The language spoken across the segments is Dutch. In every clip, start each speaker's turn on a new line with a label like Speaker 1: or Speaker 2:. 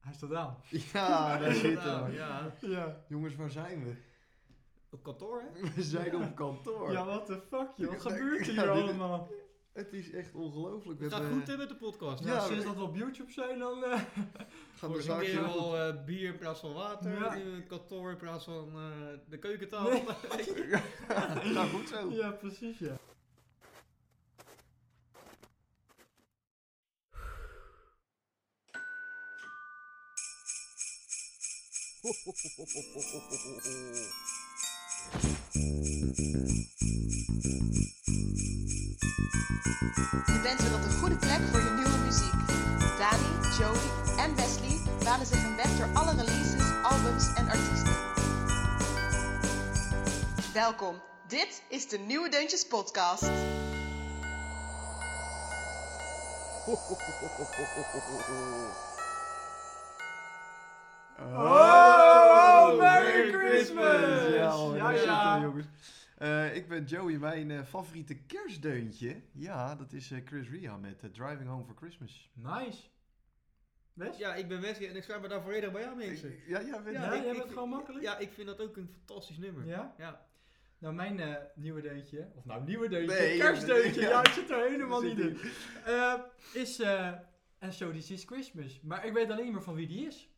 Speaker 1: Hij staat aan.
Speaker 2: Ja, daar zitten
Speaker 3: Nou,
Speaker 2: we.
Speaker 3: Ja,
Speaker 1: Ja.
Speaker 2: Jongens, waar zijn we?
Speaker 3: op kantoor hè?
Speaker 2: We zijn op kantoor.
Speaker 1: Ja, what the fuck, joh. Wat
Speaker 2: Ja,
Speaker 1: gebeurt
Speaker 2: ja,
Speaker 1: hier
Speaker 2: dit-
Speaker 1: allemaal?
Speaker 2: Het is echt ongelooflijk.
Speaker 3: Het gaat
Speaker 2: hebben-
Speaker 3: goed hè met de podcast.
Speaker 2: eh, Ja,
Speaker 1: Ja,
Speaker 3: Nou,
Speaker 1: sinds
Speaker 2: we-
Speaker 1: dat we op YouTube zijn, dan... eh,
Speaker 2: Gaat de
Speaker 3: Vorige
Speaker 2: zaak
Speaker 3: keer
Speaker 2: heel goed.
Speaker 3: al eh, bier in plaats van water,
Speaker 1: Ja.
Speaker 3: nu een kantoor in plaats van eh, de keukentafel.
Speaker 2: Nou, goed zo.
Speaker 1: ja, precies, ja.
Speaker 4: Je bent weer op de goede plek voor je nieuwe muziek. Dani, Jody en Wesley banen zich een weg door alle releases, albums en artiesten. Welkom, dit is de Nieuwe Deuntjes Podcast.
Speaker 1: Oh, Merry Christmas!
Speaker 2: Ja, hoor,
Speaker 1: Ja,
Speaker 2: daar zitten
Speaker 1: ja.
Speaker 2: we, jongens. Eh, ik ben Joey, mijn eh, favoriete kerstdeuntje. Ja, dat is eh, Chris Ria met eh, Driving Home for Christmas.
Speaker 1: Nice. Wes?
Speaker 3: ja, ik ben Wesley en ik sluit me daar volledig bij aan mensen.
Speaker 2: Ja, ja, weet
Speaker 1: Ja,
Speaker 2: je.
Speaker 3: ik-
Speaker 1: jij
Speaker 3: ik-
Speaker 1: bent gewoon makkelijk?
Speaker 3: Ja, ik vind dat ook een fantastisch nummer.
Speaker 1: Ja?
Speaker 3: Ja.
Speaker 1: Nou, mijn eh, nieuwe deuntje, of nou, nieuwe deuntje,
Speaker 2: Nee,
Speaker 1: kerstdeuntje,
Speaker 2: ja.
Speaker 1: ja, ik zit er helemaal
Speaker 2: Zit
Speaker 1: niet in, Eh, is eh, En So This Is Christmas. Maar ik weet alleen maar van wie die is.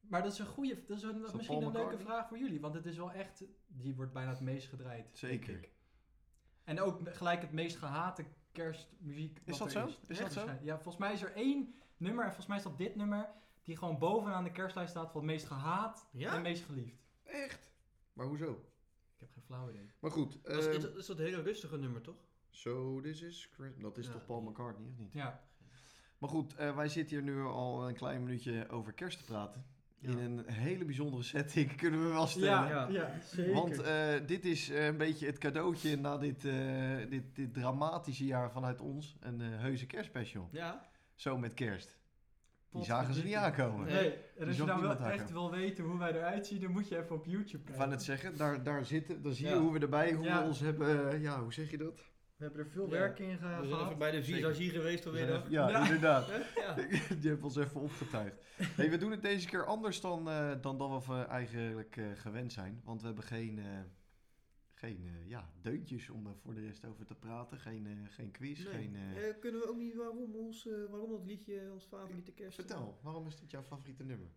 Speaker 1: Maar dat is een goede, dat is, een-
Speaker 2: dat
Speaker 1: misschien
Speaker 2: Paul
Speaker 1: een leuke
Speaker 2: McCartney?
Speaker 1: vraag voor jullie, want het is wel echt, die wordt bijna het meest gedraaid. denk
Speaker 2: Zeker.
Speaker 1: ik. En ook gelijk het meest gehate kerstmuziek. wat
Speaker 2: dat
Speaker 1: er
Speaker 2: zo?
Speaker 1: Is,
Speaker 2: Is
Speaker 1: Ja,
Speaker 2: dat zo?
Speaker 1: waarschijnlijk. Ja, volgens mij is er één nummer, en volgens mij is dat dit nummer, die gewoon bovenaan de kerstlijst staat van het meest gehaat
Speaker 3: Ja?
Speaker 1: en meest geliefd.
Speaker 2: Echt? Maar hoezo?
Speaker 1: Ik heb geen flauw idee.
Speaker 2: Maar goed.
Speaker 3: Dat is,
Speaker 2: ehm,
Speaker 3: is, dat- is dat een hele rustige nummer toch?
Speaker 2: So this is Christmas. Dat is
Speaker 3: Ja.
Speaker 2: toch Paul McCartney, of niet?
Speaker 1: Ja,
Speaker 2: Maar goed, eh, wij zitten hier nu al een klein minuutje over kerst te praten. In een hele bijzondere setting, kunnen we wel stellen.
Speaker 1: ja,
Speaker 3: Ja.
Speaker 1: ja. zeker.
Speaker 2: Want eh, dit is eh, een beetje het cadeautje na dit, eh, dit, dit dramatische jaar vanuit ons. Een eh, heuse kerstspecial.
Speaker 3: Ja.
Speaker 2: Zo met kerst. Die
Speaker 1: Pot
Speaker 2: zagen ze niet
Speaker 1: verdikke.
Speaker 2: aankomen.
Speaker 3: Nee.
Speaker 1: Nee, en
Speaker 2: Die
Speaker 1: als je
Speaker 2: zag
Speaker 1: nou wel
Speaker 2: niemand
Speaker 1: echt
Speaker 2: hakken.
Speaker 1: wil weten hoe wij eruit zien, dan moet je even op YouTube
Speaker 2: Ik
Speaker 1: kijken.
Speaker 2: wou net zeggen, daar, daar zitten, dan zie je
Speaker 3: Ja.
Speaker 2: hoe we erbij, hoe
Speaker 1: Ja.
Speaker 2: we ons hebben, eh, ja, hoe zeg je dat?
Speaker 1: We hebben er veel
Speaker 3: Ja.
Speaker 1: werk in ge-
Speaker 3: We zijn even
Speaker 1: gehad.
Speaker 3: bij de
Speaker 2: Zeker.
Speaker 3: visagie geweest
Speaker 2: We zijn
Speaker 3: vanmiddag.
Speaker 2: even- ja,
Speaker 1: Ja.
Speaker 2: inderdaad.
Speaker 3: Hè? Ja.
Speaker 2: Die hebben ons even opgetuigd. Hey, we doen het deze keer anders dan, eh, dan dat we eh, eigenlijk eh, gewend zijn. Want we hebben geen, eh, geen eh, ja, deuntjes om er voor de rest over te praten. Geen, eh, geen quiz,
Speaker 3: Nee.
Speaker 2: geen... eh,
Speaker 3: Eh, kunnen we ook niet waarom, ons, eh, waarom dat liedje ons favoriete kerst
Speaker 2: Vertel, waarom is dit jouw favoriete nummer?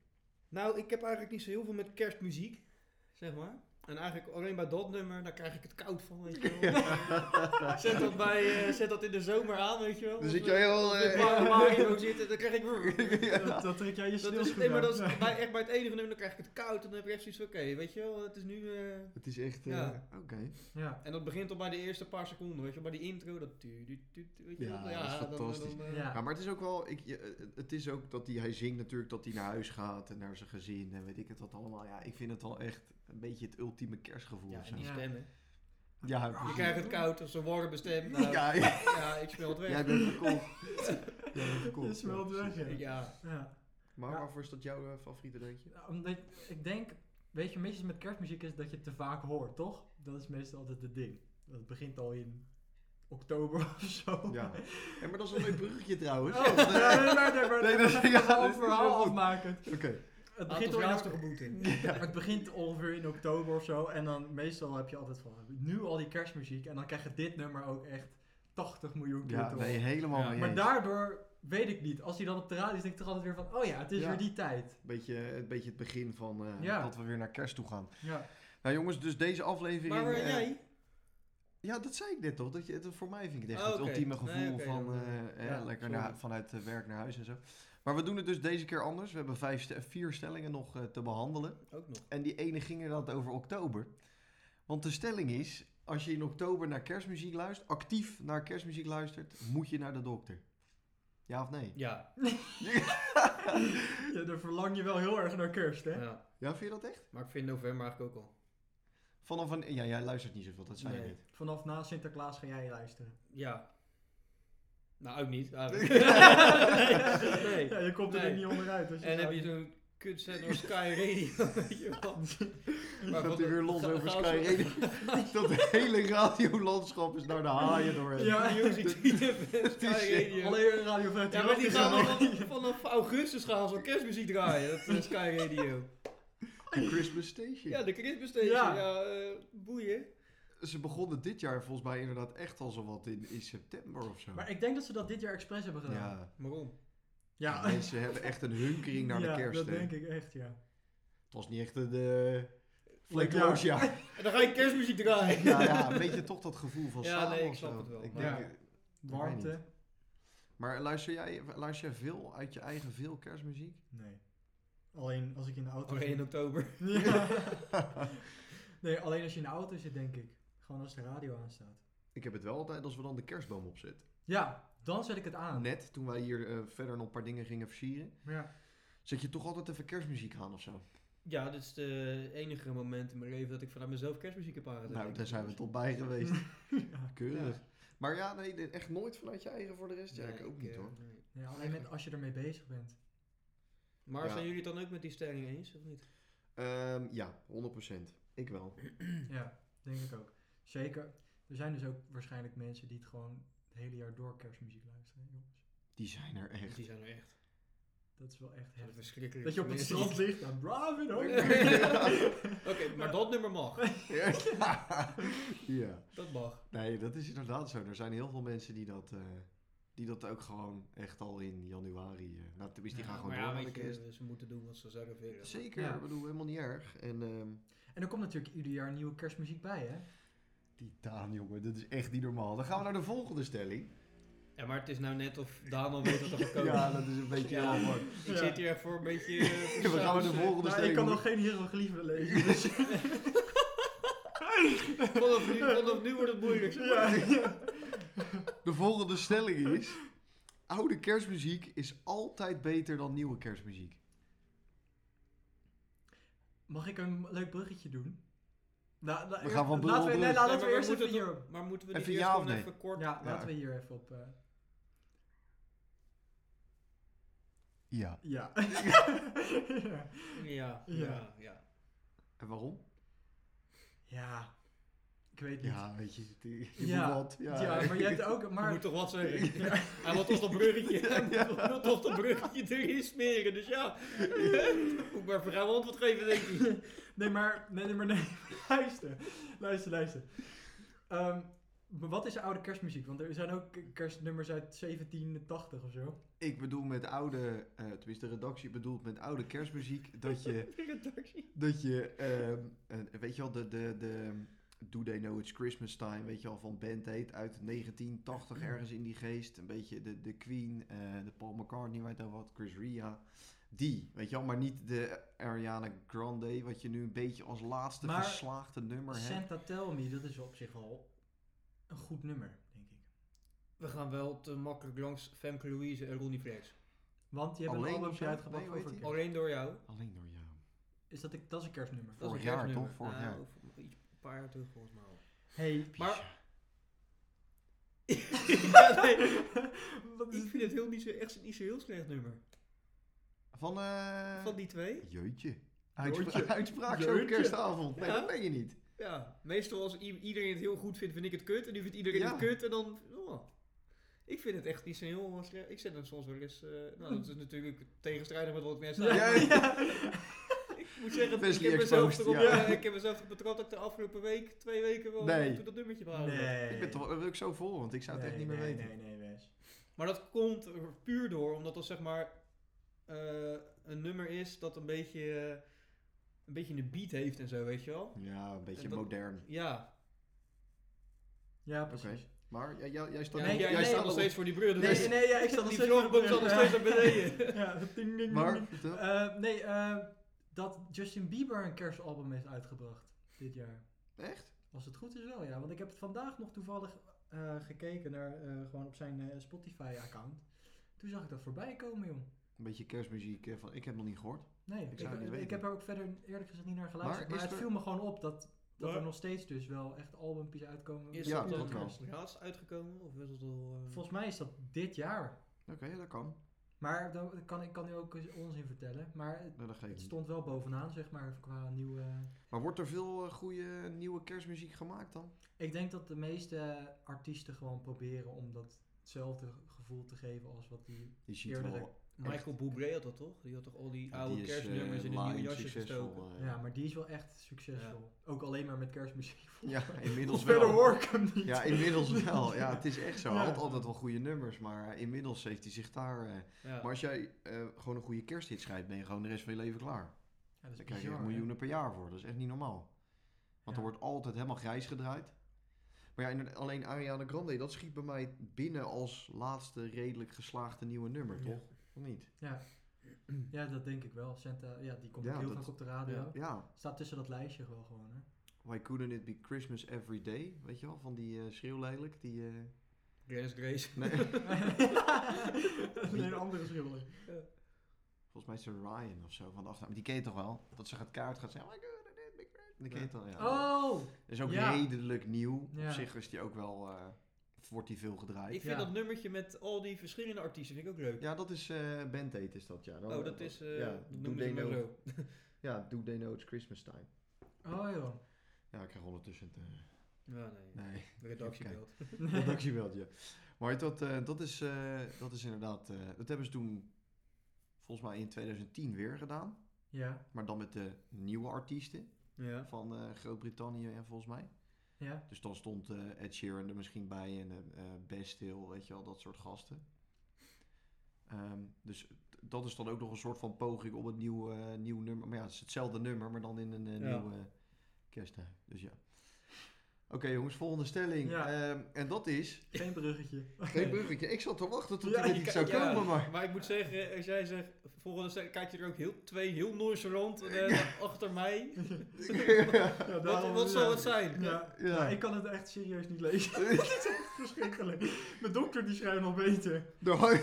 Speaker 3: Nou, ik heb eigenlijk niet zo heel veel met kerstmuziek, zeg maar. En eigenlijk alleen bij dat nummer, daar krijg ik het koud van, weet je wel. zet, dat bij, eh, zet dat in de zomer aan, weet je wel.
Speaker 2: Dan
Speaker 3: Als
Speaker 2: zit
Speaker 3: we-
Speaker 2: je heel...
Speaker 3: als we
Speaker 2: eh,
Speaker 3: warm- warm in ook zitten, dan krijg ik...
Speaker 1: Dat, dat trek jij je
Speaker 3: Dat
Speaker 1: sneeuwschoen
Speaker 3: is, nee, maar
Speaker 1: uit.
Speaker 3: dat is bij, echt bij het enige nummer, dan krijg ik het koud. En dan heb je echt zoiets van, oké, weet je wel, het is nu... eh,
Speaker 2: Het is echt... eh,
Speaker 3: Ja.
Speaker 2: Oké.
Speaker 1: Ja.
Speaker 3: En dat begint al bij de eerste paar seconden, weet je wel. Bij die intro, dat... tu- tu- tu- tu- weet je
Speaker 2: Ja,
Speaker 3: wel.
Speaker 2: dat is fantastisch.
Speaker 3: eh,
Speaker 1: Ja.
Speaker 2: Ja, maar het is ook wel... Ik, je- eh, het is ook dat hij... Hij zingt natuurlijk dat hij naar huis gaat en naar zijn gezin en weet ik het wat allemaal. Ja, ik vind het al echt een beetje het ultieme kerstgevoel
Speaker 3: Ja,
Speaker 2: of
Speaker 3: en
Speaker 2: zo.
Speaker 3: die
Speaker 1: Ja.
Speaker 3: stemmen.
Speaker 2: Ja,
Speaker 3: Je
Speaker 2: precies.
Speaker 3: krijgt het koud, als een warme stem. Nou, ja.
Speaker 2: ja,
Speaker 3: ik speel het weg.
Speaker 2: Jij bent verkocht. Jij bent verkocht.
Speaker 1: Je smelt
Speaker 2: ja,
Speaker 1: weg,
Speaker 2: precies.
Speaker 1: ja.
Speaker 3: Ja,
Speaker 1: Ja.
Speaker 2: Maar
Speaker 1: Ja.
Speaker 2: waarvoor is dat jouw eh, favoriete deuntje?
Speaker 1: Omdat, ik denk, weet je, meestal met kerstmuziek is dat je het te vaak hoort, toch? Dat is meestal altijd het ding. Dat begint al in oktober of zo.
Speaker 2: Ja. Hé, maar dat is een leuk bruggetje trouwens.
Speaker 1: Oh, nee, nee, nee, nee, maar
Speaker 2: Nee,
Speaker 1: dat
Speaker 2: dat-
Speaker 1: is
Speaker 2: ja,
Speaker 1: een
Speaker 2: dat
Speaker 1: half
Speaker 2: is
Speaker 1: verhaal
Speaker 2: heel goed.
Speaker 1: afmaken.
Speaker 2: Oké.
Speaker 1: Het
Speaker 3: Haalt
Speaker 1: begint
Speaker 3: ons
Speaker 1: al in
Speaker 3: laatste geboet in.
Speaker 1: Ja. Het begint ongeveer in oktober of zo. En dan meestal heb je altijd van nu al die kerstmuziek. En dan krijg je dit nummer ook echt 80 miljoen keer
Speaker 2: Ja,
Speaker 1: te
Speaker 2: nee,
Speaker 1: horen.
Speaker 2: helemaal
Speaker 3: Ja,
Speaker 2: mee
Speaker 1: Maar
Speaker 2: eens.
Speaker 1: daardoor weet ik niet. Als hij dan op de radio is, denk ik toch altijd weer van... Oh ja, het is
Speaker 2: Ja.
Speaker 1: weer die tijd.
Speaker 2: Beetje, een beetje het begin van eh,
Speaker 1: Ja.
Speaker 2: dat we weer naar kerst toe gaan.
Speaker 1: Ja.
Speaker 2: Nou jongens, dus deze aflevering...
Speaker 3: Maar eh,
Speaker 2: eh,
Speaker 3: jij?
Speaker 2: Ja, dat zei ik net toch. Dat je, dat- voor mij vind ik het echt
Speaker 3: Oh,
Speaker 2: het
Speaker 3: oké.
Speaker 2: ultieme gevoel
Speaker 3: Nee, oké,
Speaker 2: van
Speaker 3: dan,
Speaker 2: eh, eh,
Speaker 1: ja,
Speaker 2: lekker
Speaker 1: sorry.
Speaker 2: naar, vanuit eh, werk naar huis en zo. Maar we doen het dus deze keer anders. We hebben vijf ste- vier stellingen nog eh, te behandelen.
Speaker 3: Ook nog.
Speaker 2: En die ene ging inderdaad over oktober. Want de stelling is, als je in oktober naar kerstmuziek luistert, actief naar kerstmuziek luistert, moet je naar de dokter. Ja of nee?
Speaker 3: Ja.
Speaker 1: ja. Dan verlang je wel heel erg naar kerst, hè?
Speaker 3: ja.
Speaker 2: Ja, vind je dat echt?
Speaker 3: Maar ik vind november eigenlijk ook al.
Speaker 2: Vanaf een... Ja, jij luistert niet zoveel, dat zei je
Speaker 3: Nee.
Speaker 2: net.
Speaker 1: Vanaf na Sinterklaas ga jij luisteren.
Speaker 3: Ja. Nou, ook niet. eigenlijk. nee.
Speaker 1: Ja, je komt er
Speaker 3: Nee.
Speaker 1: ook niet onderuit. Als je
Speaker 3: En
Speaker 1: zo-
Speaker 3: heb je zo'n kunt zetten door Sky Radio. weet je wel. Maar
Speaker 2: gaat
Speaker 3: wat-
Speaker 2: hij weer los
Speaker 3: ga-
Speaker 2: over
Speaker 3: gaan
Speaker 2: Sky
Speaker 3: we zo-
Speaker 2: Radio. Dat hele radiolandschap is naar de haaien doorheen.
Speaker 1: Ja.
Speaker 3: Ja, Music Street
Speaker 2: is
Speaker 3: Sky Radio.
Speaker 1: Alleen Radio 538
Speaker 3: Ja, maar die
Speaker 1: is
Speaker 3: gaan
Speaker 1: er nog.
Speaker 3: vanaf, vanaf augustus gaan ze al kerstmuziek draaien. Dat eh, Sky Radio.
Speaker 2: De Christmas Station.
Speaker 3: Ja, de Christmas Station.
Speaker 1: Ja.
Speaker 3: Ja, eh, boeien.
Speaker 2: Ze begonnen dit jaar volgens mij inderdaad echt al zo wat in, in september of zo.
Speaker 1: Maar ik denk dat ze dat dit jaar expres hebben gedaan.
Speaker 2: ja.
Speaker 3: Waarom?
Speaker 1: Ja.
Speaker 2: Mensen hebben echt een hunkering naar
Speaker 1: Ja,
Speaker 2: de kerst.
Speaker 1: dat
Speaker 2: hè.
Speaker 1: denk ik echt, ja.
Speaker 2: Het was niet echt een eh
Speaker 1: Leuk
Speaker 2: vlekkeloos jaar.
Speaker 3: En dan ga je kerstmuziek draaien.
Speaker 2: ja, ja, een beetje toch dat gevoel van
Speaker 3: Ja,
Speaker 2: samen
Speaker 3: nee, ik
Speaker 2: of
Speaker 3: snap
Speaker 2: zo.
Speaker 3: het wel.
Speaker 2: Ik
Speaker 1: Ja.
Speaker 2: denk,
Speaker 1: Warmte?
Speaker 2: Maar luister jij, luister jij veel uit je eigen veel kerstmuziek?
Speaker 1: Nee. Alleen als ik in de auto
Speaker 3: Alleen in
Speaker 1: zit.
Speaker 3: oktober.
Speaker 1: Ja. nee, alleen als je in de auto zit, denk ik. Gewoon als de radio aanstaat.
Speaker 2: Ik heb het wel altijd als we dan de kerstboom opzetten.
Speaker 1: Ja, dan zet ik het aan.
Speaker 2: Net toen wij hier eh, verder nog een paar dingen gingen versieren,
Speaker 1: Ja.
Speaker 2: zet je toch altijd even kerstmuziek aan of zo.
Speaker 3: Ja, dit is de enige moment in mijn leven dat ik vanuit mezelf kerstmuziek heb aangezet.
Speaker 2: nou, daar zijn we toch bij geweest. Keurig. Maar ja, nee, dit- echt nooit vanuit je eigen voor de rest? Ja,
Speaker 3: Nee,
Speaker 2: ik ook niet
Speaker 3: eh,
Speaker 2: hoor.
Speaker 3: nee.
Speaker 1: Ja, alleen met als je ermee bezig bent.
Speaker 3: Maar
Speaker 2: Ja.
Speaker 3: zijn jullie het dan ook met die stelling eens, of niet?
Speaker 2: Ehm, ja, 100%. Ik wel. Hm.
Speaker 1: Ja, denk ik ook. Zeker. Er zijn dus ook waarschijnlijk mensen die het gewoon het hele jaar door kerstmuziek luisteren. Jongens,
Speaker 2: Die zijn er echt.
Speaker 3: Die zijn er echt.
Speaker 1: dat is wel echt
Speaker 3: Dat is
Speaker 1: heftig.
Speaker 3: verschrikkelijk.
Speaker 1: Dat je op het strand ligt nou, en braaf in hoor.
Speaker 3: Oké, maar dat nummer mag.
Speaker 2: ja. ja.
Speaker 3: Dat mag.
Speaker 2: Nee, dat is inderdaad zo. Er zijn heel veel mensen die dat, eh, die dat ook gewoon echt al in januari... eh nou, tenminste, die gaan gewoon
Speaker 3: maar
Speaker 2: door
Speaker 3: ja,
Speaker 2: naar de
Speaker 3: weet
Speaker 2: kerst.
Speaker 3: je, eh, ze moeten doen wat ze zelf willen.
Speaker 2: Zeker,
Speaker 1: Ja.
Speaker 2: ik bedoel, helemaal niet erg. En ehm,
Speaker 1: En er komt natuurlijk ieder jaar nieuwe kerstmuziek bij, hè?
Speaker 2: Titaan, jongen, dat is echt niet normaal. Dan gaan we naar de volgende stelling.
Speaker 3: Ja, maar het is nou net of Daan al weet wat er gekomen
Speaker 2: Ja,
Speaker 3: is.
Speaker 2: dat is een beetje
Speaker 3: Ja.
Speaker 2: heel hard.
Speaker 3: Ik
Speaker 1: Ja.
Speaker 3: zit hier echt voor een beetje... eh, voor
Speaker 2: We gaan naar de
Speaker 3: saus, eh,
Speaker 2: volgende
Speaker 1: Nou,
Speaker 2: stelling.
Speaker 1: ik kan
Speaker 2: hoor.
Speaker 1: nog geen hierogliefen lezen. Dus
Speaker 3: Vanaf nu, vanaf nu wordt het moeilijk.
Speaker 2: De volgende stelling is... Oude kerstmuziek is altijd beter dan nieuwe kerstmuziek.
Speaker 1: Mag ik een leuk bruggetje doen? Nou, nou,
Speaker 2: We gaan van bril
Speaker 1: laten we,
Speaker 2: op
Speaker 1: nee,
Speaker 2: brug.
Speaker 1: laten we
Speaker 3: Nee,
Speaker 1: eerst
Speaker 3: maar,
Speaker 1: even
Speaker 3: moeten
Speaker 1: hier...
Speaker 3: we, maar moeten we niet
Speaker 2: Even
Speaker 3: eerst
Speaker 2: ja of
Speaker 3: gewoon
Speaker 2: nee?
Speaker 3: even kort...
Speaker 1: Ja,
Speaker 2: Ja.
Speaker 1: laten we hier even op... eh,
Speaker 2: Ja.
Speaker 1: ja. ja.
Speaker 3: Ja,
Speaker 1: Ja.
Speaker 3: ja, ja.
Speaker 2: En waarom?
Speaker 1: Ja. Ik weet niet.
Speaker 2: Ja, weet je. die- Je
Speaker 1: Ja.
Speaker 2: moet wat. Ja.
Speaker 1: Ja, maar je hebt ook...
Speaker 3: Je
Speaker 1: Maar
Speaker 3: moet toch wat zeggen? Hij wil toch dat bruggetje, hij wil toch dat bruggetje erin smeren, dus ja. Moet maar voor hem antwoord geven, denk ik.
Speaker 1: Nee, maar nee, nee, maar nee. luister, luister, luister. Ehm, maar wat is oude kerstmuziek? Want er zijn ook kerstnummers uit 1780 of zo.
Speaker 2: Ik bedoel met oude, eh, tenminste de redactie bedoelt met oude kerstmuziek, dat je, dat je ehm, eh, weet je wel, de, de, de Do They Know It's Christmas Time, weet je wel, van Band Aid uit 1980 ergens in die geest. Een beetje de, de Queen, eh, de Paul McCartney, weet je wel wat, Chris Ria. Die, weet je wel, maar niet de Ariana Grande, wat je nu een beetje als laatste
Speaker 1: Maar-
Speaker 2: geslaagde nummer hebt.
Speaker 1: Santa Tell Me, dat is op zich wel een goed nummer, denk ik.
Speaker 3: We gaan wel te makkelijk langs Femke Louise en Ronnie Flex.
Speaker 1: Want die hebben
Speaker 2: Alleen
Speaker 1: een
Speaker 2: of
Speaker 1: album
Speaker 2: zo?
Speaker 1: uitgebracht
Speaker 2: Nee, hoe
Speaker 1: over
Speaker 2: heet die?
Speaker 1: kerst.
Speaker 3: Alleen door jou.
Speaker 2: Alleen door jou.
Speaker 1: Is dat, ik, dat is een kerstnummer.
Speaker 3: Dat is
Speaker 2: Vorig
Speaker 3: een
Speaker 2: jaar,
Speaker 3: kerstnummer.
Speaker 2: toch? Vorig
Speaker 3: Nou,
Speaker 2: jaar.
Speaker 3: of iets- Een paar jaar terug, volgens mij al.
Speaker 1: Hey,
Speaker 3: Maar... ja, nee. Ik vind het heel niet zo, echt niet zo heel slecht nummer.
Speaker 2: Van, eh,
Speaker 3: Van die twee?
Speaker 2: Jeutje. Uitspra
Speaker 1: Jeutje.
Speaker 2: Uitspraak zo'n
Speaker 1: Jeutje.
Speaker 2: kerstavond. Nee,
Speaker 3: Ja.
Speaker 2: dat ben je niet.
Speaker 3: Ja, meestal als i- iedereen het heel goed vindt, vind ik het kut. En nu vindt iedereen
Speaker 2: Ja.
Speaker 3: het kut en dan... oh. Ik vind het echt niet zo heel eh, slecht. Ik zet hem soms wel eens... eh, nou, dat is natuurlijk tegenstrijdig met wat ik net zei.
Speaker 2: Ja,
Speaker 3: maar
Speaker 2: ja.
Speaker 3: Ik moet zeggen, ik
Speaker 2: Wesley
Speaker 3: heb, mezelf
Speaker 2: exposed,
Speaker 3: erop,
Speaker 2: ja.
Speaker 3: eh, ik heb mezelf erop betrapt dat ik de afgelopen week, twee weken wel,
Speaker 2: Nee.
Speaker 3: toen dat nummertje behouden had.
Speaker 1: Nee.
Speaker 2: Ik ben toch, daar wil ik zo vol, want ik zou het
Speaker 1: nee,
Speaker 2: echt niet meer
Speaker 1: nee,
Speaker 2: weten.
Speaker 1: Nee, nee, Wes.
Speaker 3: Maar dat komt er puur door, omdat dat zeg maar eh, een nummer is dat een beetje, eh, een beetje een beat heeft en zo, weet je wel?
Speaker 2: Ja, een beetje
Speaker 3: En dat-
Speaker 2: modern.
Speaker 3: Ja,
Speaker 1: Ja,
Speaker 2: Oké.
Speaker 1: precies.
Speaker 2: Maar jij, jij, jij staat,
Speaker 3: ja
Speaker 1: nee,
Speaker 3: jij
Speaker 2: jij
Speaker 1: nee,
Speaker 3: staat
Speaker 2: staat
Speaker 3: nog
Speaker 2: al-
Speaker 3: steeds voor die brug. dus-
Speaker 1: Nee, nee, ja, ik zat nog
Speaker 3: die
Speaker 1: steeds...
Speaker 3: vlogbom staat nog steeds naar beneden.
Speaker 1: Ja, ding, ding, ding,
Speaker 2: Maar,
Speaker 1: ding.
Speaker 2: vertel.
Speaker 1: Eh, nee, eh, dat Justin Bieber een kerstalbum heeft uitgebracht dit jaar.
Speaker 2: echt?
Speaker 1: Als het goed is wel, ja. Want ik heb het vandaag nog toevallig eh, gekeken naar eh, gewoon op zijn eh, Spotify-account. Toen zag ik dat voorbij komen, joh.
Speaker 2: Een beetje kerstmuziek. eh, Van, ik heb nog niet gehoord.
Speaker 1: Nee,
Speaker 2: Ik
Speaker 1: ik,
Speaker 2: zou het niet
Speaker 1: ik,
Speaker 2: weten.
Speaker 1: heb er ook verder eerlijk gezegd niet naar geluisterd.
Speaker 2: Maar
Speaker 1: Maar,
Speaker 2: is
Speaker 1: het
Speaker 2: er-
Speaker 1: viel me gewoon op dat, dat
Speaker 3: Maar-
Speaker 1: er nog steeds dus wel echt albumpjes uitkomen.
Speaker 3: Is
Speaker 1: met
Speaker 2: Ja,
Speaker 1: pure
Speaker 2: dat wel.
Speaker 1: kerst.
Speaker 3: Ja, is het uitgekomen? Of is het al... eh,
Speaker 1: Volgens mij is dat dit jaar.
Speaker 2: Oké, dat kan.
Speaker 1: Maar dan kan, ik kan nu ook eens onzin vertellen. Maar het,
Speaker 2: Nou, dat geeft
Speaker 1: het
Speaker 2: niet.
Speaker 1: stond wel bovenaan, zeg maar, qua nieuwe...
Speaker 2: Maar wordt er veel eh, goede nieuwe kerstmuziek gemaakt dan?
Speaker 1: Ik denk dat de meeste artiesten gewoon proberen om datzelfde gevoel te geven als wat die...
Speaker 2: Je ziet
Speaker 1: Eerder
Speaker 2: wel.
Speaker 3: Michael Bublé had dat toch? Die had toch al die
Speaker 2: Ja,
Speaker 3: oude
Speaker 2: die is, eh,
Speaker 3: kerstnummers in een
Speaker 2: laaiend
Speaker 3: nieuw jasje
Speaker 2: succesvol,
Speaker 3: gestoken.
Speaker 2: eh.
Speaker 1: Ja, maar die is wel echt succesvol. Ook alleen maar met kerstmuziek.
Speaker 2: ja, inmiddels
Speaker 1: Verder
Speaker 2: wel.
Speaker 1: hoor ik hem niet.
Speaker 2: Ja, inmiddels wel. Ja, het is echt zo. Hij
Speaker 1: Ja.
Speaker 2: had altijd wel goede nummers, maar eh, inmiddels heeft hij zich daar... eh,
Speaker 3: Ja.
Speaker 2: Maar als jij eh, gewoon een goede kersthit schrijft, ben je gewoon de rest van je leven klaar.
Speaker 1: Ja, dat
Speaker 2: Daar
Speaker 1: is
Speaker 2: krijg je
Speaker 1: bizar,
Speaker 2: echt
Speaker 1: hè?
Speaker 2: miljoenen per jaar voor. Dat is echt niet normaal. Want
Speaker 1: Ja.
Speaker 2: er wordt altijd helemaal grijs gedraaid. Maar ja, inderdaad, alleen Ariana Grande, dat schiet bij mij binnen als laatste redelijk geslaagde nieuwe nummer,
Speaker 1: Ja.
Speaker 2: toch? Of niet?
Speaker 1: Ja. ja, dat denk ik wel. Santa, ja, die komt
Speaker 2: Ja,
Speaker 1: ook heel
Speaker 2: dat-
Speaker 1: vaak op de radio.
Speaker 3: ja.
Speaker 2: Ja,
Speaker 1: Staat tussen dat lijstje wel gewoon, hè?
Speaker 2: Why couldn't it be Christmas every day? Weet je wel, van die eh schreeuwlelijk. Die, eh,
Speaker 3: Dennis Grace.
Speaker 2: nee,
Speaker 1: dat is een hele andere schilder.
Speaker 2: volgens mij is ze Ryan of zo van de achternaam. Die ken je toch wel? Dat ze gaat kaart gaat zeggen, why couldn't it be Christmas? Die ken je
Speaker 3: Ja.
Speaker 2: toch? Ja.
Speaker 1: Oh!
Speaker 2: is ook
Speaker 1: ja.
Speaker 2: redelijk nieuw.
Speaker 1: Ja.
Speaker 2: Op zich is die ook wel, eh, wordt die veel gedraaid.
Speaker 3: Ik vind
Speaker 1: Ja.
Speaker 3: dat nummertje met al die verschillende artiesten vind ik ook leuk.
Speaker 2: Ja, dat is eh Band Aid is dat, ja. Dan-
Speaker 3: Oh, dat is... eh
Speaker 2: ja,
Speaker 3: dat
Speaker 2: do
Speaker 3: noemen
Speaker 2: they
Speaker 3: ze maar
Speaker 2: know,
Speaker 3: zo.
Speaker 2: ja, Do They Know It's Christmas Time.
Speaker 1: Oh joh.
Speaker 2: Ja, ik krijg ondertussen het... eh,
Speaker 3: Ja, nee.
Speaker 2: nee,
Speaker 3: De redactie
Speaker 2: Kijk.
Speaker 3: belt.
Speaker 2: productiebelt, ja. Maar dat, eh, dat, is, eh, dat is inderdaad... eh, dat hebben ze toen volgens mij in 2010 weer gedaan.
Speaker 1: Ja,
Speaker 2: Maar dan met de nieuwe artiesten
Speaker 3: Ja.
Speaker 2: van eh, Groot-Brittannië en volgens mij.
Speaker 1: ja.
Speaker 2: Dus dan stond eh, Ed Sheeran er misschien bij en eh eh, Bastille, weet je wel, dat soort gasten. Ehm, dus t- dat is dan ook nog een soort van poging op het nieuw, eh, nieuw nummer. Maar ja, het is hetzelfde nummer, maar dan in een eh,
Speaker 3: Ja.
Speaker 2: nieuwe kerstdag. Dus ja. Oké jongens, volgende stelling.
Speaker 1: Ja.
Speaker 2: Ehm, en dat is...
Speaker 1: Geen bruggetje.
Speaker 2: Geen bruggetje. Ik zat te wachten tot
Speaker 1: Ja,
Speaker 2: er
Speaker 1: je
Speaker 2: iets zou
Speaker 3: kan- ja.
Speaker 2: komen, maar...
Speaker 3: Maar ik moet zeggen, eh, als jij zegt, volgende stuk kijk je er ook heel, twee heel nonchalant eh, achter mij.
Speaker 1: Ja,
Speaker 3: Wat,
Speaker 1: daarom-
Speaker 3: wat zou het
Speaker 1: ja.
Speaker 3: zijn?
Speaker 1: Ja.
Speaker 2: Ja.
Speaker 1: Ja, ik kan het echt serieus niet lezen. Het is echt verschrikkelijk. Mijn dokter die schrijft nog beter.
Speaker 2: Nou,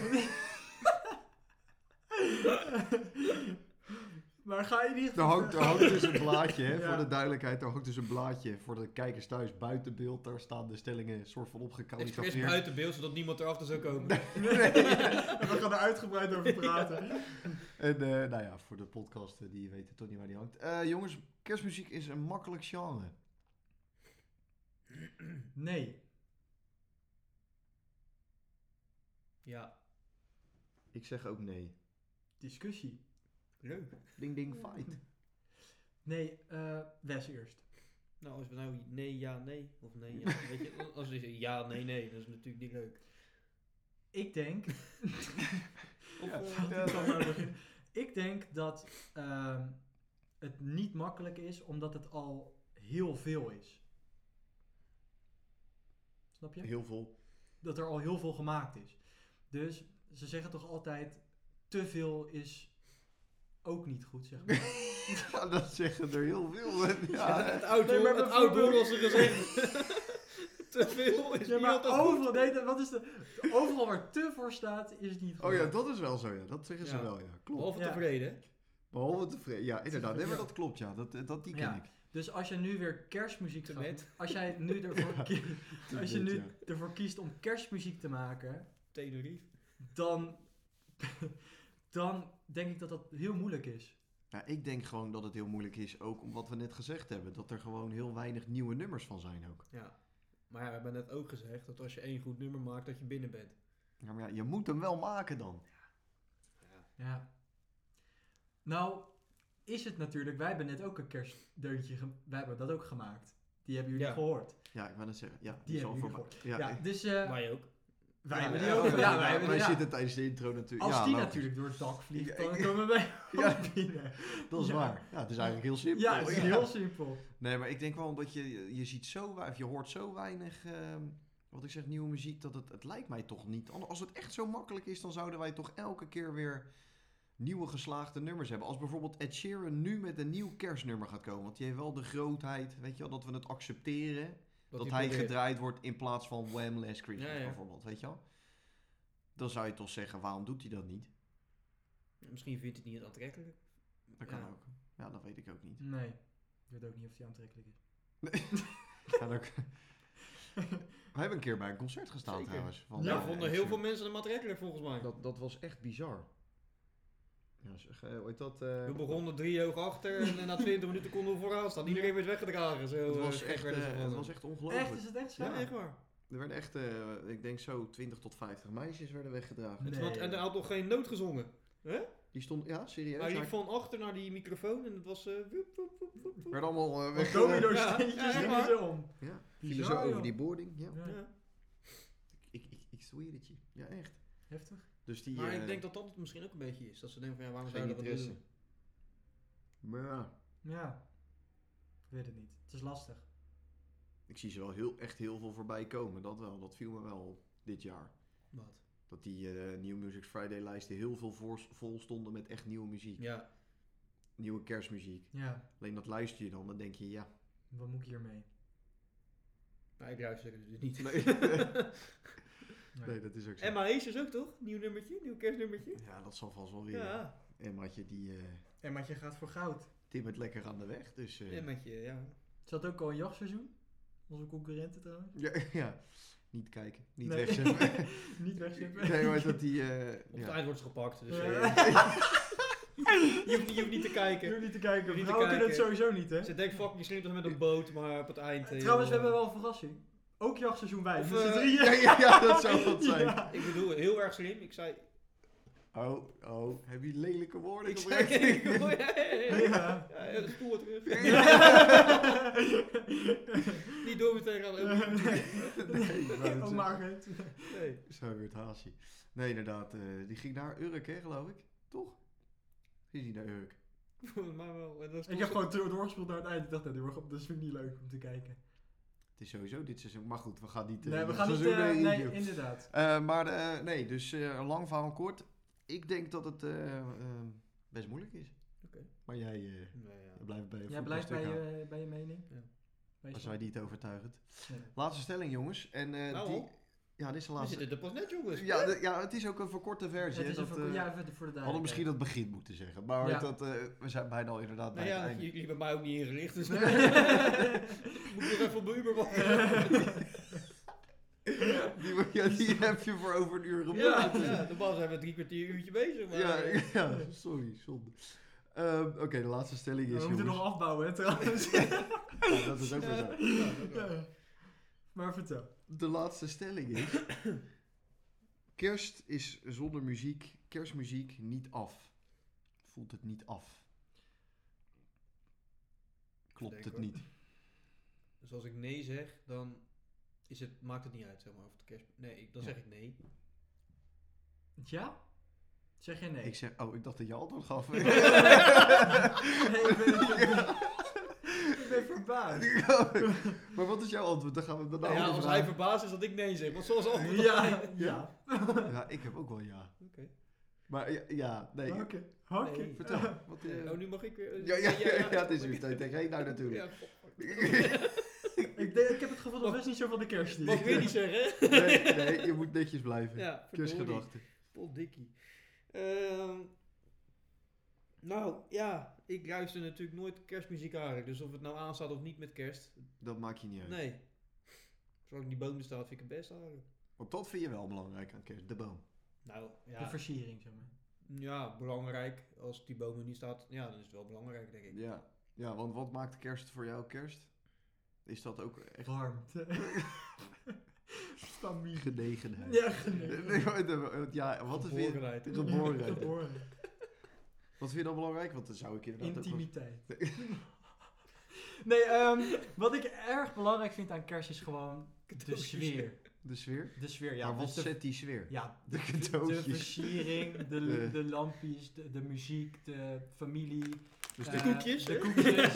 Speaker 1: maar ga je niet...
Speaker 2: Er hangt, er hangt dus een blaadje, hè,
Speaker 1: Ja.
Speaker 2: voor de duidelijkheid. Er hangt dus een blaadje voor de kijkers thuis buiten beeld. Daar staan de stellingen soort van
Speaker 3: Expres
Speaker 2: opgecalligrafeerd.
Speaker 3: buiten beeld, zodat niemand erachter zou komen.
Speaker 1: We gaan er uitgebreid over praten.
Speaker 2: En eh, nou ja, voor de podcast, eh, die weten toch niet waar die hangt. Eh, jongens, kerstmuziek is een makkelijk genre.
Speaker 1: Nee.
Speaker 3: Ja,
Speaker 2: Ik zeg ook nee.
Speaker 1: Discussie.
Speaker 3: leuk.
Speaker 2: Ding ding fight.
Speaker 1: Nee, eh Wes eerst.
Speaker 3: Nou, als we nou nee, ja, nee. Of nee, ja. Weet je, als we zeggen ja, nee, nee, dat is natuurlijk niet leuk.
Speaker 1: Ik denk
Speaker 3: Of,
Speaker 2: Ja.
Speaker 3: eh,
Speaker 1: Ik zal maar beginnen. Ik denk dat ehm, het niet makkelijk is omdat het al heel veel is. Snap je?
Speaker 2: Heel veel.
Speaker 1: Dat er al heel veel gemaakt is. Dus ze zeggen toch altijd: te veel is ook niet goed, zeg maar.
Speaker 2: Ja, dat zeggen er heel veel. hè. Ja,
Speaker 3: het oud
Speaker 1: Nee, maar
Speaker 3: het
Speaker 1: bijvoorbeeld-
Speaker 3: oud Hollandse gezegd. Te veel is
Speaker 1: Ja,
Speaker 3: niet
Speaker 1: maar
Speaker 3: altijd goed.
Speaker 1: overal, nee, dat- wat is de, overal waar te voor staat, is niet goed.
Speaker 2: Oh ja, dat is wel zo, ja. Dat zeggen ze
Speaker 3: Ja.
Speaker 2: wel, ja. Klopt.
Speaker 3: Behalve
Speaker 1: Ja. Oh.
Speaker 3: tevreden.
Speaker 2: Behalve tevreden. Ja, inderdaad. Nee, maar
Speaker 1: Ja.
Speaker 2: dat klopt, ja. Dat, eh, dat die ken
Speaker 1: Ja.
Speaker 2: ik.
Speaker 1: Dus als je nu weer kerstmuziek
Speaker 3: Te
Speaker 1: gaat
Speaker 3: net.
Speaker 1: Als jij nu ervoor, ki- als je
Speaker 2: net,
Speaker 1: nu
Speaker 2: ja.
Speaker 1: ervoor kiest om kerstmuziek te maken,
Speaker 3: Tenerife.
Speaker 1: dan, dan denk ik dat dat heel moeilijk is.
Speaker 2: Ja, Nou, ik denk gewoon dat het heel moeilijk is, ook om wat we net gezegd hebben. Dat er gewoon heel weinig nieuwe nummers van zijn ook.
Speaker 3: Ja. Maar ja, we hebben net ook gezegd dat als je één goed nummer maakt, dat je binnen bent.
Speaker 2: Ja, maar ja, je moet hem wel maken dan.
Speaker 1: Ja. Nou, is het natuurlijk, wij hebben net ook een kerstdeuntje, ge- wij hebben dat ook gemaakt. Die hebben jullie
Speaker 3: Ja.
Speaker 1: gehoord.
Speaker 2: Ja, ik wou net zeggen. Ja, die,
Speaker 1: Die
Speaker 2: is al
Speaker 1: hebben jullie
Speaker 2: voorbij.
Speaker 1: gehoord.
Speaker 2: Ja,
Speaker 1: Ja, dus eh,
Speaker 3: Wij ook.
Speaker 1: wij
Speaker 2: Ja,
Speaker 1: hebben die
Speaker 2: ja,
Speaker 1: ook.
Speaker 2: oh,
Speaker 1: Ja,
Speaker 2: ja,
Speaker 1: wij hebben
Speaker 2: wij
Speaker 1: ja.
Speaker 2: zitten tijdens de intro natuurlijk.
Speaker 1: Als
Speaker 2: ja,
Speaker 1: die
Speaker 2: logisch.
Speaker 1: natuurlijk door het dak vliegt,
Speaker 2: Ik-
Speaker 1: dan
Speaker 2: ik-
Speaker 1: komen wij
Speaker 2: Ja.
Speaker 1: ook binnen.
Speaker 2: Dat is
Speaker 1: Ja.
Speaker 2: waar. Ja, het is eigenlijk heel simpel.
Speaker 1: Ja, het is heel simpel.
Speaker 2: Nee, maar ik denk wel dat je, je ziet zo weinig, je hoort zo weinig, ehm, wat ik zeg, nieuwe muziek, dat het, het lijkt mij toch niet. An- Als het echt zo makkelijk is, dan zouden wij toch elke keer weer nieuwe geslaagde nummers hebben. Als bijvoorbeeld Ed Sheeran nu met een nieuw kerstnummer gaat komen, want die heeft wel de grootheid, weet je wel, dat we het accepteren. Dat,
Speaker 3: die
Speaker 2: hij
Speaker 3: probeert.
Speaker 2: gedraaid wordt in plaats van Wham! Last Christmas
Speaker 3: Ja, ja.
Speaker 2: bijvoorbeeld, weet je wel. Dan zou je toch zeggen, waarom doet hij dat niet?
Speaker 3: Misschien vindt hij het niet aantrekkelijk.
Speaker 2: Dat kan
Speaker 3: Ja.
Speaker 2: ook. Ja, dat weet ik ook niet.
Speaker 1: Nee, ik weet ook niet of die aantrekkelijk is.
Speaker 2: Ja, dat- We hebben een keer bij een concert gestaan
Speaker 3: Zeker.
Speaker 2: trouwens. Van
Speaker 1: Ja,
Speaker 3: Daar
Speaker 2: eh,
Speaker 3: vonden heel
Speaker 2: Action.
Speaker 3: veel mensen de maatregelen volgens mij.
Speaker 2: Dat, dat was echt bizar. Ja, zeg, eh, hoe heet dat? eh,
Speaker 3: We begonnen drie hoog achter en na 20 minuten konden we vooraan staan. Iedereen werd weggedragen. Zo,
Speaker 2: Het was
Speaker 3: eh,
Speaker 2: echt,
Speaker 3: werden ze
Speaker 2: eh,
Speaker 3: van
Speaker 2: het
Speaker 3: ze.
Speaker 2: was echt
Speaker 1: Echt,
Speaker 2: ongelooflijk.
Speaker 1: is het echt zo?
Speaker 3: Ja, echt waar.
Speaker 2: Er werden echt, eh, ik denk zo 20 tot 50 meisjes werden weggedragen.
Speaker 1: Nee.
Speaker 3: Want- Dus en er had nog geen noot gezongen.
Speaker 2: Die stond, ja, serieus.
Speaker 3: Hij
Speaker 2: ja,
Speaker 3: liep van achter naar die microfoon en het was... eh, woep, woep, woep, woep, woep.
Speaker 2: Werd allemaal eh,
Speaker 1: Wat
Speaker 2: weggedragen.
Speaker 1: domino
Speaker 3: Ja,
Speaker 1: steentjes
Speaker 3: ja, echt
Speaker 1: gingen
Speaker 3: waar.
Speaker 1: ze om.
Speaker 2: Ja, vielen
Speaker 1: Bizar,
Speaker 2: zo over
Speaker 1: joh.
Speaker 2: die boarding. Ja.
Speaker 1: Ja,
Speaker 3: Ja.
Speaker 2: Ik, ik, ik zweer het je. Ja, echt.
Speaker 1: Heftig.
Speaker 2: Dus die...
Speaker 3: Maar
Speaker 2: eh,
Speaker 3: ik denk dat dat het misschien ook een beetje is. Dat ze denken van ja, waarom
Speaker 2: Geen
Speaker 3: zou je dat
Speaker 2: interesse.
Speaker 3: doen?
Speaker 2: Maar ja,
Speaker 1: Ja. Ik weet het niet. Het is lastig.
Speaker 2: ik zie ze wel heel, echt heel veel voorbij komen. Dat wel, dat viel me wel op dit jaar.
Speaker 3: Wat?
Speaker 2: Dat die eh, New Music Friday lijsten heel veel voor- vol stonden met echt nieuwe muziek.
Speaker 3: Ja,
Speaker 2: Nieuwe kerstmuziek.
Speaker 1: Ja.
Speaker 2: Alleen dat luister je dan, dan denk je ja.
Speaker 1: Wat moet ik hiermee?
Speaker 3: maar ik luister er dus niet.
Speaker 2: Nee, nee dat is ook zo.
Speaker 3: Emma Hees is ook toch? Nieuw nummertje, nieuw kerstnummertje.
Speaker 2: Ja, dat zal vast wel weer.
Speaker 3: Ja,
Speaker 2: Emmaatje, die eh
Speaker 1: En maar je gaat voor goud.
Speaker 2: timmert lekker aan de weg. Dus, eh,
Speaker 3: Emmetje, ja.
Speaker 1: Zat ook al een jachtseizoen? Onze concurrenten trouwens.
Speaker 2: ja, ja, niet kijken. Niet
Speaker 1: Nee.
Speaker 2: wegzetten.
Speaker 1: Niet wegzippen.
Speaker 2: nee, maar dat die... eh,
Speaker 3: Op het
Speaker 2: ja.
Speaker 3: eind wordt ze gepakt, dus
Speaker 1: Ja.
Speaker 3: eh, je, hoeft, niet- je hoeft niet te
Speaker 1: Je
Speaker 3: kijken.
Speaker 1: hoeft niet te kijken.
Speaker 3: Hoef niet te
Speaker 1: Vrouwen kunnen het
Speaker 3: kijken.
Speaker 1: sowieso niet, hè?
Speaker 3: Ze denkt, fuck, misschien is het met een boot, maar op het eind... eh,
Speaker 1: Trouwens, we
Speaker 3: joh.
Speaker 1: hebben wel een verrassing. Ook jachtseizoen wij.
Speaker 3: Of,
Speaker 1: Dus de
Speaker 3: eh,
Speaker 1: drieën.
Speaker 2: Ja, ja, ja, dat zou wat zijn.
Speaker 1: Ja.
Speaker 3: Ik bedoel, heel erg slim. Ik zei...
Speaker 2: Oh, oh, heb je lelijke woorden
Speaker 3: Ik zei...
Speaker 2: gebruikt?
Speaker 3: Ik hoor- ja, ja, ja, ja.
Speaker 1: Ja.
Speaker 3: Ja, ja, de spoor terug. Niet door meteen gaan lopen.
Speaker 2: nee, ik wou het
Speaker 1: Oh, maar het.
Speaker 3: Nee.
Speaker 2: zeggen. Zo weer het haasje. Nee, inderdaad. eh, die ging naar Urk, hè, geloof ik. Toch? Ging die naar Urk?
Speaker 3: Volgens mij wel. En dan
Speaker 1: Ik
Speaker 3: stond
Speaker 1: heb
Speaker 3: ze-
Speaker 1: gewoon door- doorgespeeld naar het eind. Ik dacht, nee, dit wordt- dat is vind ik niet leuk om te kijken.
Speaker 2: Het is sowieso dit seizoen. Maar goed, we gaan niet... eh,
Speaker 1: Nee, we
Speaker 2: dit
Speaker 1: gaan niet...
Speaker 2: seizoen,
Speaker 1: eh,
Speaker 2: eh,
Speaker 1: Nee,
Speaker 2: joh.
Speaker 1: inderdaad.
Speaker 2: Eh, maar eh, nee, dus eh, een lang verhaal kort. Ik denk dat het eh, eh, best moeilijk is.
Speaker 3: Oké.
Speaker 2: Maar jij eh,
Speaker 3: Nee, ja.
Speaker 2: blijft bij je
Speaker 1: Jij blijft bij eh, je, bij je mening.
Speaker 3: Ja.
Speaker 1: Wees
Speaker 2: Als
Speaker 1: maar.
Speaker 2: wij niet overtuigend.
Speaker 1: Nee.
Speaker 2: Laatste stelling, jongens. En, eh,
Speaker 3: Nou,
Speaker 2: die...
Speaker 3: Hol.
Speaker 2: Ja, dit is de
Speaker 3: We
Speaker 2: laatste.
Speaker 3: zitten er pas net, jongens.
Speaker 2: Ja, de- ja, het is ook een verkorte versie.
Speaker 1: Het is
Speaker 2: hè,
Speaker 1: een
Speaker 2: dat,
Speaker 1: verko-
Speaker 2: eh,
Speaker 1: ja, even voor de
Speaker 2: we
Speaker 1: duidelijkheid.
Speaker 2: hadden misschien dat begin moeten zeggen. Maar
Speaker 1: Ja.
Speaker 2: dat, eh, we zijn bijna al inderdaad bij
Speaker 3: Nou
Speaker 2: het
Speaker 3: ja,
Speaker 2: einde.
Speaker 3: jullie hebben mij ook niet ingelicht, dus moet ik nog even op mijn Uber wachten.
Speaker 2: Die, ja, die heb je voor over een uur gebracht.
Speaker 3: Ja, ja, normaal zijn we drie kwartier uurtje bezig, maar...
Speaker 2: Ja,
Speaker 3: eh,
Speaker 2: ja, sorry, zonde. Ehm, Oké, de laatste stelling
Speaker 1: We
Speaker 2: is,
Speaker 1: moeten
Speaker 2: jongens,
Speaker 1: nog afbouwen, hè, trouwens.
Speaker 2: Ja, dat is ook weer zo.
Speaker 3: ja, dat wel.
Speaker 1: Ja. Maar vertel.
Speaker 2: De laatste stelling is... Kerst is zonder muziek, kerstmuziek niet af. Voelt het niet af. Klopt
Speaker 3: Denk
Speaker 2: het
Speaker 3: hoor.
Speaker 2: niet.
Speaker 3: Dus als ik nee zeg, dan is het, maakt het niet uit, zeg maar, of het kerst... Nee, ik- dan
Speaker 2: Ja.
Speaker 3: zeg ik nee.
Speaker 1: Ja? Zeg jij nee?
Speaker 2: Ik zeg, oh, ik dacht dat je antwoord gaf.
Speaker 1: Nee, ik ben, ik ben verbaasd.
Speaker 2: maar wat is jouw antwoord? Dan gaan we het daarna
Speaker 3: Nou ja,
Speaker 2: over
Speaker 3: als hij
Speaker 2: vragen.
Speaker 3: verbaasd is dat ik nee zeg, want zoals altijd...
Speaker 1: Ja, ja.
Speaker 2: Ja, ik heb ook wel ja.
Speaker 3: Oké.
Speaker 2: Maar ja, ja, nee.
Speaker 1: Oké. Oké.
Speaker 3: Nee.
Speaker 2: Vertel, wat... eh,
Speaker 3: Oh, nu mag ik weer...
Speaker 2: ja, ja, ja, ja, het is weer tijd tegen nou natuurlijk.
Speaker 3: Ja, fuck.
Speaker 1: Ik, denk- ik heb het gevoel dat Wes niet zo van de kerst is.
Speaker 3: mag weer niet zeggen, hè?
Speaker 2: Nee, nee, je moet netjes blijven.
Speaker 3: Ja, verdorie.
Speaker 2: Kerstgedachten.
Speaker 3: Poddikkie. Ehm nou, ja, ik luister natuurlijk nooit kerstmuziek eigenlijk. Dus of het nou aanstaat of niet met kerst,
Speaker 2: Dat maakt je niet uit.
Speaker 3: nee. Zolang die boom er staat, vind ik het best eigenlijk.
Speaker 2: Want dat vind je wel belangrijk aan kerst, de boom.
Speaker 3: Nou,
Speaker 1: De
Speaker 3: ja,
Speaker 1: versiering, zeg maar.
Speaker 3: ja, belangrijk. Als die boom er niet staat, ja, dan is het wel belangrijk, denk ik.
Speaker 2: Ja. ja, want wat maakt kerst voor jou kerst? Is dat ook echt
Speaker 1: Warmte. Familie.
Speaker 2: genegenheid?
Speaker 1: Ja,
Speaker 2: Nee,
Speaker 1: genoeg.
Speaker 2: maar de- ja, wat vind je...
Speaker 3: Geborgenheid.
Speaker 2: Geborenheid.
Speaker 1: Geboren.
Speaker 2: Wat vind je dan belangrijk? Want dan zou ik inderdaad ook wel-
Speaker 1: Intimiteit. Nee, ehm, wat ik erg belangrijk vind aan kerst is gewoon de
Speaker 3: Cadeautjes.
Speaker 1: sfeer.
Speaker 2: De sfeer?
Speaker 1: De sfeer, ja.
Speaker 2: maar wat
Speaker 1: dus de,
Speaker 2: zet die sfeer?
Speaker 1: ja,
Speaker 2: De
Speaker 1: de
Speaker 2: cadeautjes.
Speaker 1: versiering, de,
Speaker 2: De-
Speaker 1: de lampjes, de, de muziek, de familie.
Speaker 2: Dus
Speaker 1: eh,
Speaker 2: de
Speaker 3: koekjes,
Speaker 1: De
Speaker 3: hè?
Speaker 1: koekjes,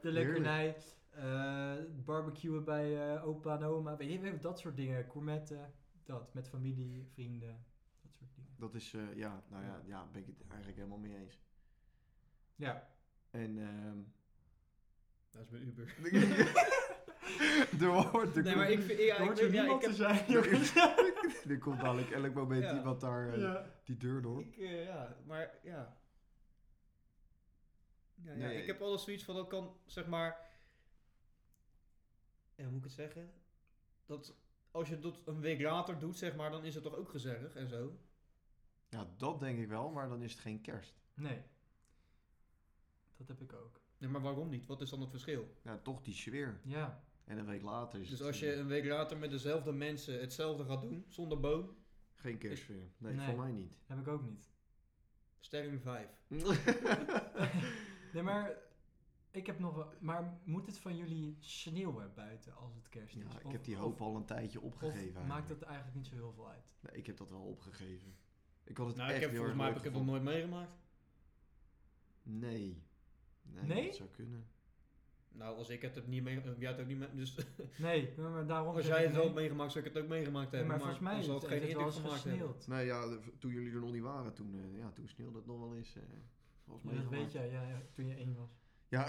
Speaker 1: de lekkernij. eh barbecuen bij eh, opa en oma. Weet je, we hebben dat soort dingen. Gourmetten, dat. Met familie, vrienden, dat soort dingen.
Speaker 2: Dat is, eh, ja, nou ja, ja, ben ik het eigenlijk helemaal mee eens.
Speaker 1: Ja.
Speaker 2: En, ehm
Speaker 3: Dat Nou, is mijn Uber.
Speaker 2: er wordt, er
Speaker 3: Nee,
Speaker 2: komt,
Speaker 3: maar ik vind... Ja,
Speaker 1: Er
Speaker 3: ik,
Speaker 1: hoort zo
Speaker 3: ja, ik
Speaker 1: niemand
Speaker 3: heb...
Speaker 1: te zijn, jongens.
Speaker 2: er komt dadelijk elk moment
Speaker 3: Ja.
Speaker 2: iemand daar eh,
Speaker 1: Ja.
Speaker 2: die deur door.
Speaker 3: Ik, eh, ja, maar ja. Ja, ja,
Speaker 2: Nee.
Speaker 3: Ik heb alles zoiets van dat kan, zeg maar. Ja, hoe moet ik het zeggen? Dat als je dat een week later doet, zeg maar, dan is het toch ook gezellig en zo.
Speaker 2: Ja, dat denk ik wel, maar dan is het geen kerst.
Speaker 1: Nee. Dat heb ik ook.
Speaker 3: Nee, maar waarom niet? Wat is dan het verschil?
Speaker 2: Ja, toch die sfeer.
Speaker 1: Ja.
Speaker 2: En een week later is
Speaker 3: Dus
Speaker 2: het
Speaker 3: als
Speaker 2: eh,
Speaker 3: je een week later met dezelfde mensen hetzelfde gaat doen, zonder boom,
Speaker 2: geen kerstsfeer. Nee,
Speaker 1: Nee.
Speaker 2: voor mij niet.
Speaker 1: Heb ik ook niet.
Speaker 3: sterren 5.
Speaker 1: Nee, maar ik heb nog wel... Maar moet het van jullie sneeuwen buiten als het kerst is?
Speaker 2: ja, ik
Speaker 1: Of-
Speaker 2: heb die
Speaker 1: of-
Speaker 2: hoop al een tijdje
Speaker 1: Of
Speaker 2: opgegeven.
Speaker 1: maakt
Speaker 2: eigenlijk.
Speaker 1: dat eigenlijk niet zo heel veel uit?
Speaker 2: Nee, ik heb dat wel opgegeven. Ik had het
Speaker 3: Nou, ik
Speaker 2: echt
Speaker 3: heb,
Speaker 2: heel
Speaker 3: volgens
Speaker 2: erg
Speaker 3: mij heb
Speaker 2: leuk
Speaker 3: ik het nog
Speaker 2: gevonden.
Speaker 3: nooit meegemaakt.
Speaker 2: Nee. Nee,
Speaker 1: Nee?
Speaker 2: dat zou kunnen. jij
Speaker 3: Nou, als ik het heb niet meegemaakt, jij het ook niet mee, dus
Speaker 1: Nee, maar maar daarom...
Speaker 3: als
Speaker 1: zeg
Speaker 3: jij
Speaker 1: ik
Speaker 3: het wel
Speaker 1: nee.
Speaker 3: hebt meegemaakt, zou ik het ook meegemaakt
Speaker 1: Nee,
Speaker 3: hebben.
Speaker 1: maar volgens mij
Speaker 3: dan
Speaker 1: is
Speaker 3: zal
Speaker 1: het,
Speaker 3: het geen
Speaker 1: heeft het wel
Speaker 3: indruk
Speaker 1: eens
Speaker 3: gemaakt hebben.
Speaker 1: gesneeuwd.
Speaker 2: Nou ja, de- toen jullie er nog niet waren, toen, eh, ja, toen sneeuwde het nog wel eens. eh, volgens
Speaker 1: Ja,
Speaker 2: mij
Speaker 1: dat
Speaker 2: gemaakt.
Speaker 1: weet jij, ja, ja, toen je één was.
Speaker 2: Ja.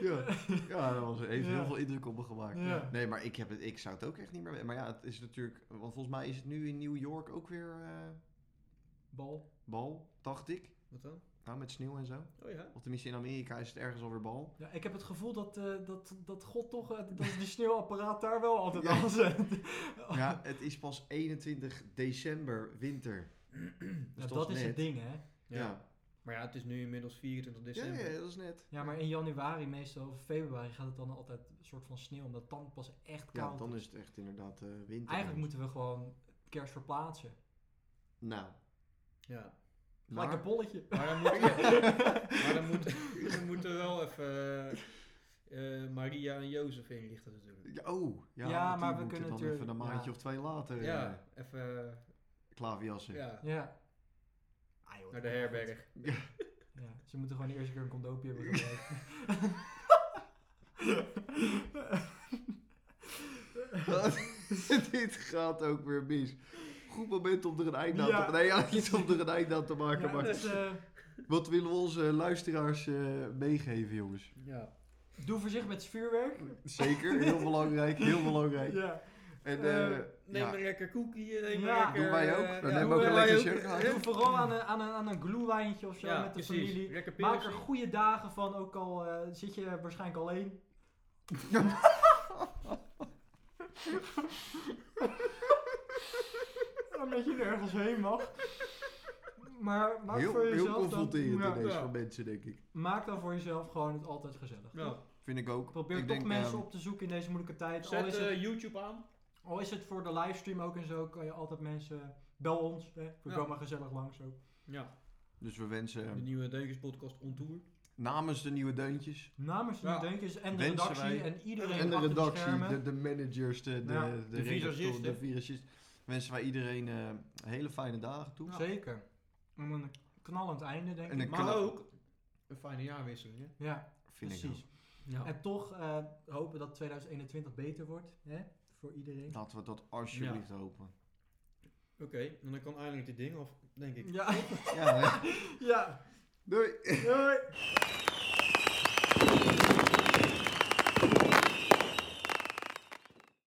Speaker 2: ja. ja, dat was, heeft
Speaker 1: Ja.
Speaker 2: heel veel indruk op me gemaakt.
Speaker 1: Ja.
Speaker 2: Nee, maar ik, heb het, ik zou het ook echt niet meer weten. Maar ja, het is natuurlijk... Want volgens mij is het nu in New York ook weer eh,
Speaker 1: Bal.
Speaker 2: bal, dacht ik.
Speaker 3: Wat dan?
Speaker 2: Nou, met sneeuw en zo.
Speaker 3: Oh ja.
Speaker 2: Of tenminste, in Amerika is het ergens alweer bal.
Speaker 1: Ja, ik heb het gevoel dat, eh, dat, dat God toch... eh, dat die sneeuwapparaat daar wel altijd
Speaker 2: Ja.
Speaker 1: aan zet. Oh.
Speaker 2: Ja, het is pas 21 december, winter. Dus
Speaker 1: Ja, dat is het ding, hè.
Speaker 3: Ja.
Speaker 2: Ja.
Speaker 3: Maar ja, het is nu inmiddels 24
Speaker 2: Ja.
Speaker 3: december.
Speaker 2: Ja, ja, dat is net.
Speaker 1: Ja, maar in januari meestal, of februari, gaat het dan altijd een soort van sneeuw. Omdat dan pas echt
Speaker 2: Ja,
Speaker 1: koud
Speaker 2: dan
Speaker 1: is.
Speaker 2: is het echt inderdaad eh, winter.
Speaker 1: Eigenlijk moeten we gewoon kerst verplaatsen.
Speaker 2: Nou.
Speaker 3: Ja.
Speaker 1: Gelijk
Speaker 2: maar-
Speaker 1: een bolletje.
Speaker 3: Maar dan moet, maar dan moet, dan moeten we wel even eh, eh, Maria en Jozef inlichten natuurlijk.
Speaker 2: Ja, Oh, ja,
Speaker 1: Ja,
Speaker 2: want die
Speaker 1: maar we
Speaker 2: moeten
Speaker 1: kunnen
Speaker 2: dan
Speaker 1: natuurlijk-
Speaker 2: even een
Speaker 1: ja.
Speaker 2: maandje of twee later eh
Speaker 3: Ja, even
Speaker 2: klaverjassen.
Speaker 3: eh, ja,
Speaker 1: Ja. Ah, joh,
Speaker 3: naar de herberg.
Speaker 1: Ja, ze moeten gewoon de eerste keer een condoompje hebben gebruikt.
Speaker 2: Dit gaat ook weer mis. Goed moment om er een eind aan
Speaker 1: Ja.
Speaker 2: te maken. Nee, ja, niet om er een eind aan te maken.
Speaker 1: Ja,
Speaker 2: maar
Speaker 1: dus, eh,
Speaker 2: Wat willen we onze luisteraars eh, meegeven, jongens?
Speaker 3: Ja.
Speaker 1: doe voorzichtig met het vuurwerk.
Speaker 2: Zeker, heel belangrijk, heel belangrijk.
Speaker 1: Ja.
Speaker 2: En
Speaker 1: Eh,
Speaker 2: eh,
Speaker 3: Neem
Speaker 2: ja,
Speaker 3: een lekker koekje, neem
Speaker 1: Ja.
Speaker 3: een lekker...
Speaker 2: Doen wij ook.
Speaker 3: eh,
Speaker 2: We
Speaker 3: ja,
Speaker 2: nemen
Speaker 3: doen
Speaker 1: ook een
Speaker 3: wij
Speaker 2: lekker shirt.
Speaker 3: Ja,
Speaker 1: Doe vooral aan een, aan een, aan een glühwijntje of zo
Speaker 3: ja,
Speaker 1: met de
Speaker 3: precies.
Speaker 1: familie.
Speaker 3: Lekker
Speaker 1: Maak er
Speaker 3: pilsje.
Speaker 1: goede dagen van, ook al eh, zit je waarschijnlijk alleen. Omdat je ergens heen mag. Maar maak
Speaker 2: heel,
Speaker 1: voor
Speaker 2: heel
Speaker 1: jezelf
Speaker 2: confronterend
Speaker 1: dan, ja,
Speaker 2: ineens
Speaker 3: ja.
Speaker 2: voor mensen, denk ik.
Speaker 1: maak dan voor jezelf gewoon het altijd gezellig.
Speaker 3: Ja.
Speaker 2: Vind ik ook.
Speaker 1: Probeer
Speaker 2: ik
Speaker 1: toch
Speaker 2: denk,
Speaker 1: mensen
Speaker 2: ehm,
Speaker 1: op te zoeken in deze moeilijke tijd. Al
Speaker 3: Zet
Speaker 1: is, het,
Speaker 3: eh, YouTube aan.
Speaker 1: al is het voor de livestream ook en zo, kan je altijd mensen... eh, Bel ons, hè. we
Speaker 3: Ja.
Speaker 1: komen gezellig langs ook.
Speaker 3: Ja.
Speaker 2: Dus we wensen
Speaker 3: De
Speaker 2: ehm,
Speaker 3: nieuwe Deukers podcast on tour.
Speaker 2: namens de nieuwe deuntjes
Speaker 1: Namens de
Speaker 3: Ja.
Speaker 1: Denkers en de
Speaker 2: Wensen
Speaker 1: redactie
Speaker 2: wij-
Speaker 1: en iedereen
Speaker 2: en de
Speaker 1: achter de
Speaker 2: redactie,
Speaker 1: schermen.
Speaker 2: de, de managers, de, de,
Speaker 1: Ja.
Speaker 2: de,
Speaker 3: De
Speaker 2: redactoren,
Speaker 3: visagisten.
Speaker 2: de visagisten. Wensen wij iedereen eh, hele fijne dagen toe.
Speaker 1: Zeker. En een knallend einde, denk
Speaker 2: En
Speaker 1: ik.
Speaker 2: een
Speaker 3: Maar
Speaker 2: knap-
Speaker 3: ook een fijne jaarwisseling, hè?
Speaker 1: Ja,
Speaker 2: Vind ik
Speaker 1: precies.
Speaker 3: Ja.
Speaker 1: En toch eh, hopen dat 2021 beter wordt, hè? Voor iedereen.
Speaker 2: Laten we dat alsjeblieft hopen.
Speaker 3: Oké, en dan kan eindelijk dit ding af, denk ik.
Speaker 1: Ja,
Speaker 2: Ja, hè?
Speaker 1: ja.
Speaker 2: Doei!
Speaker 1: Doei.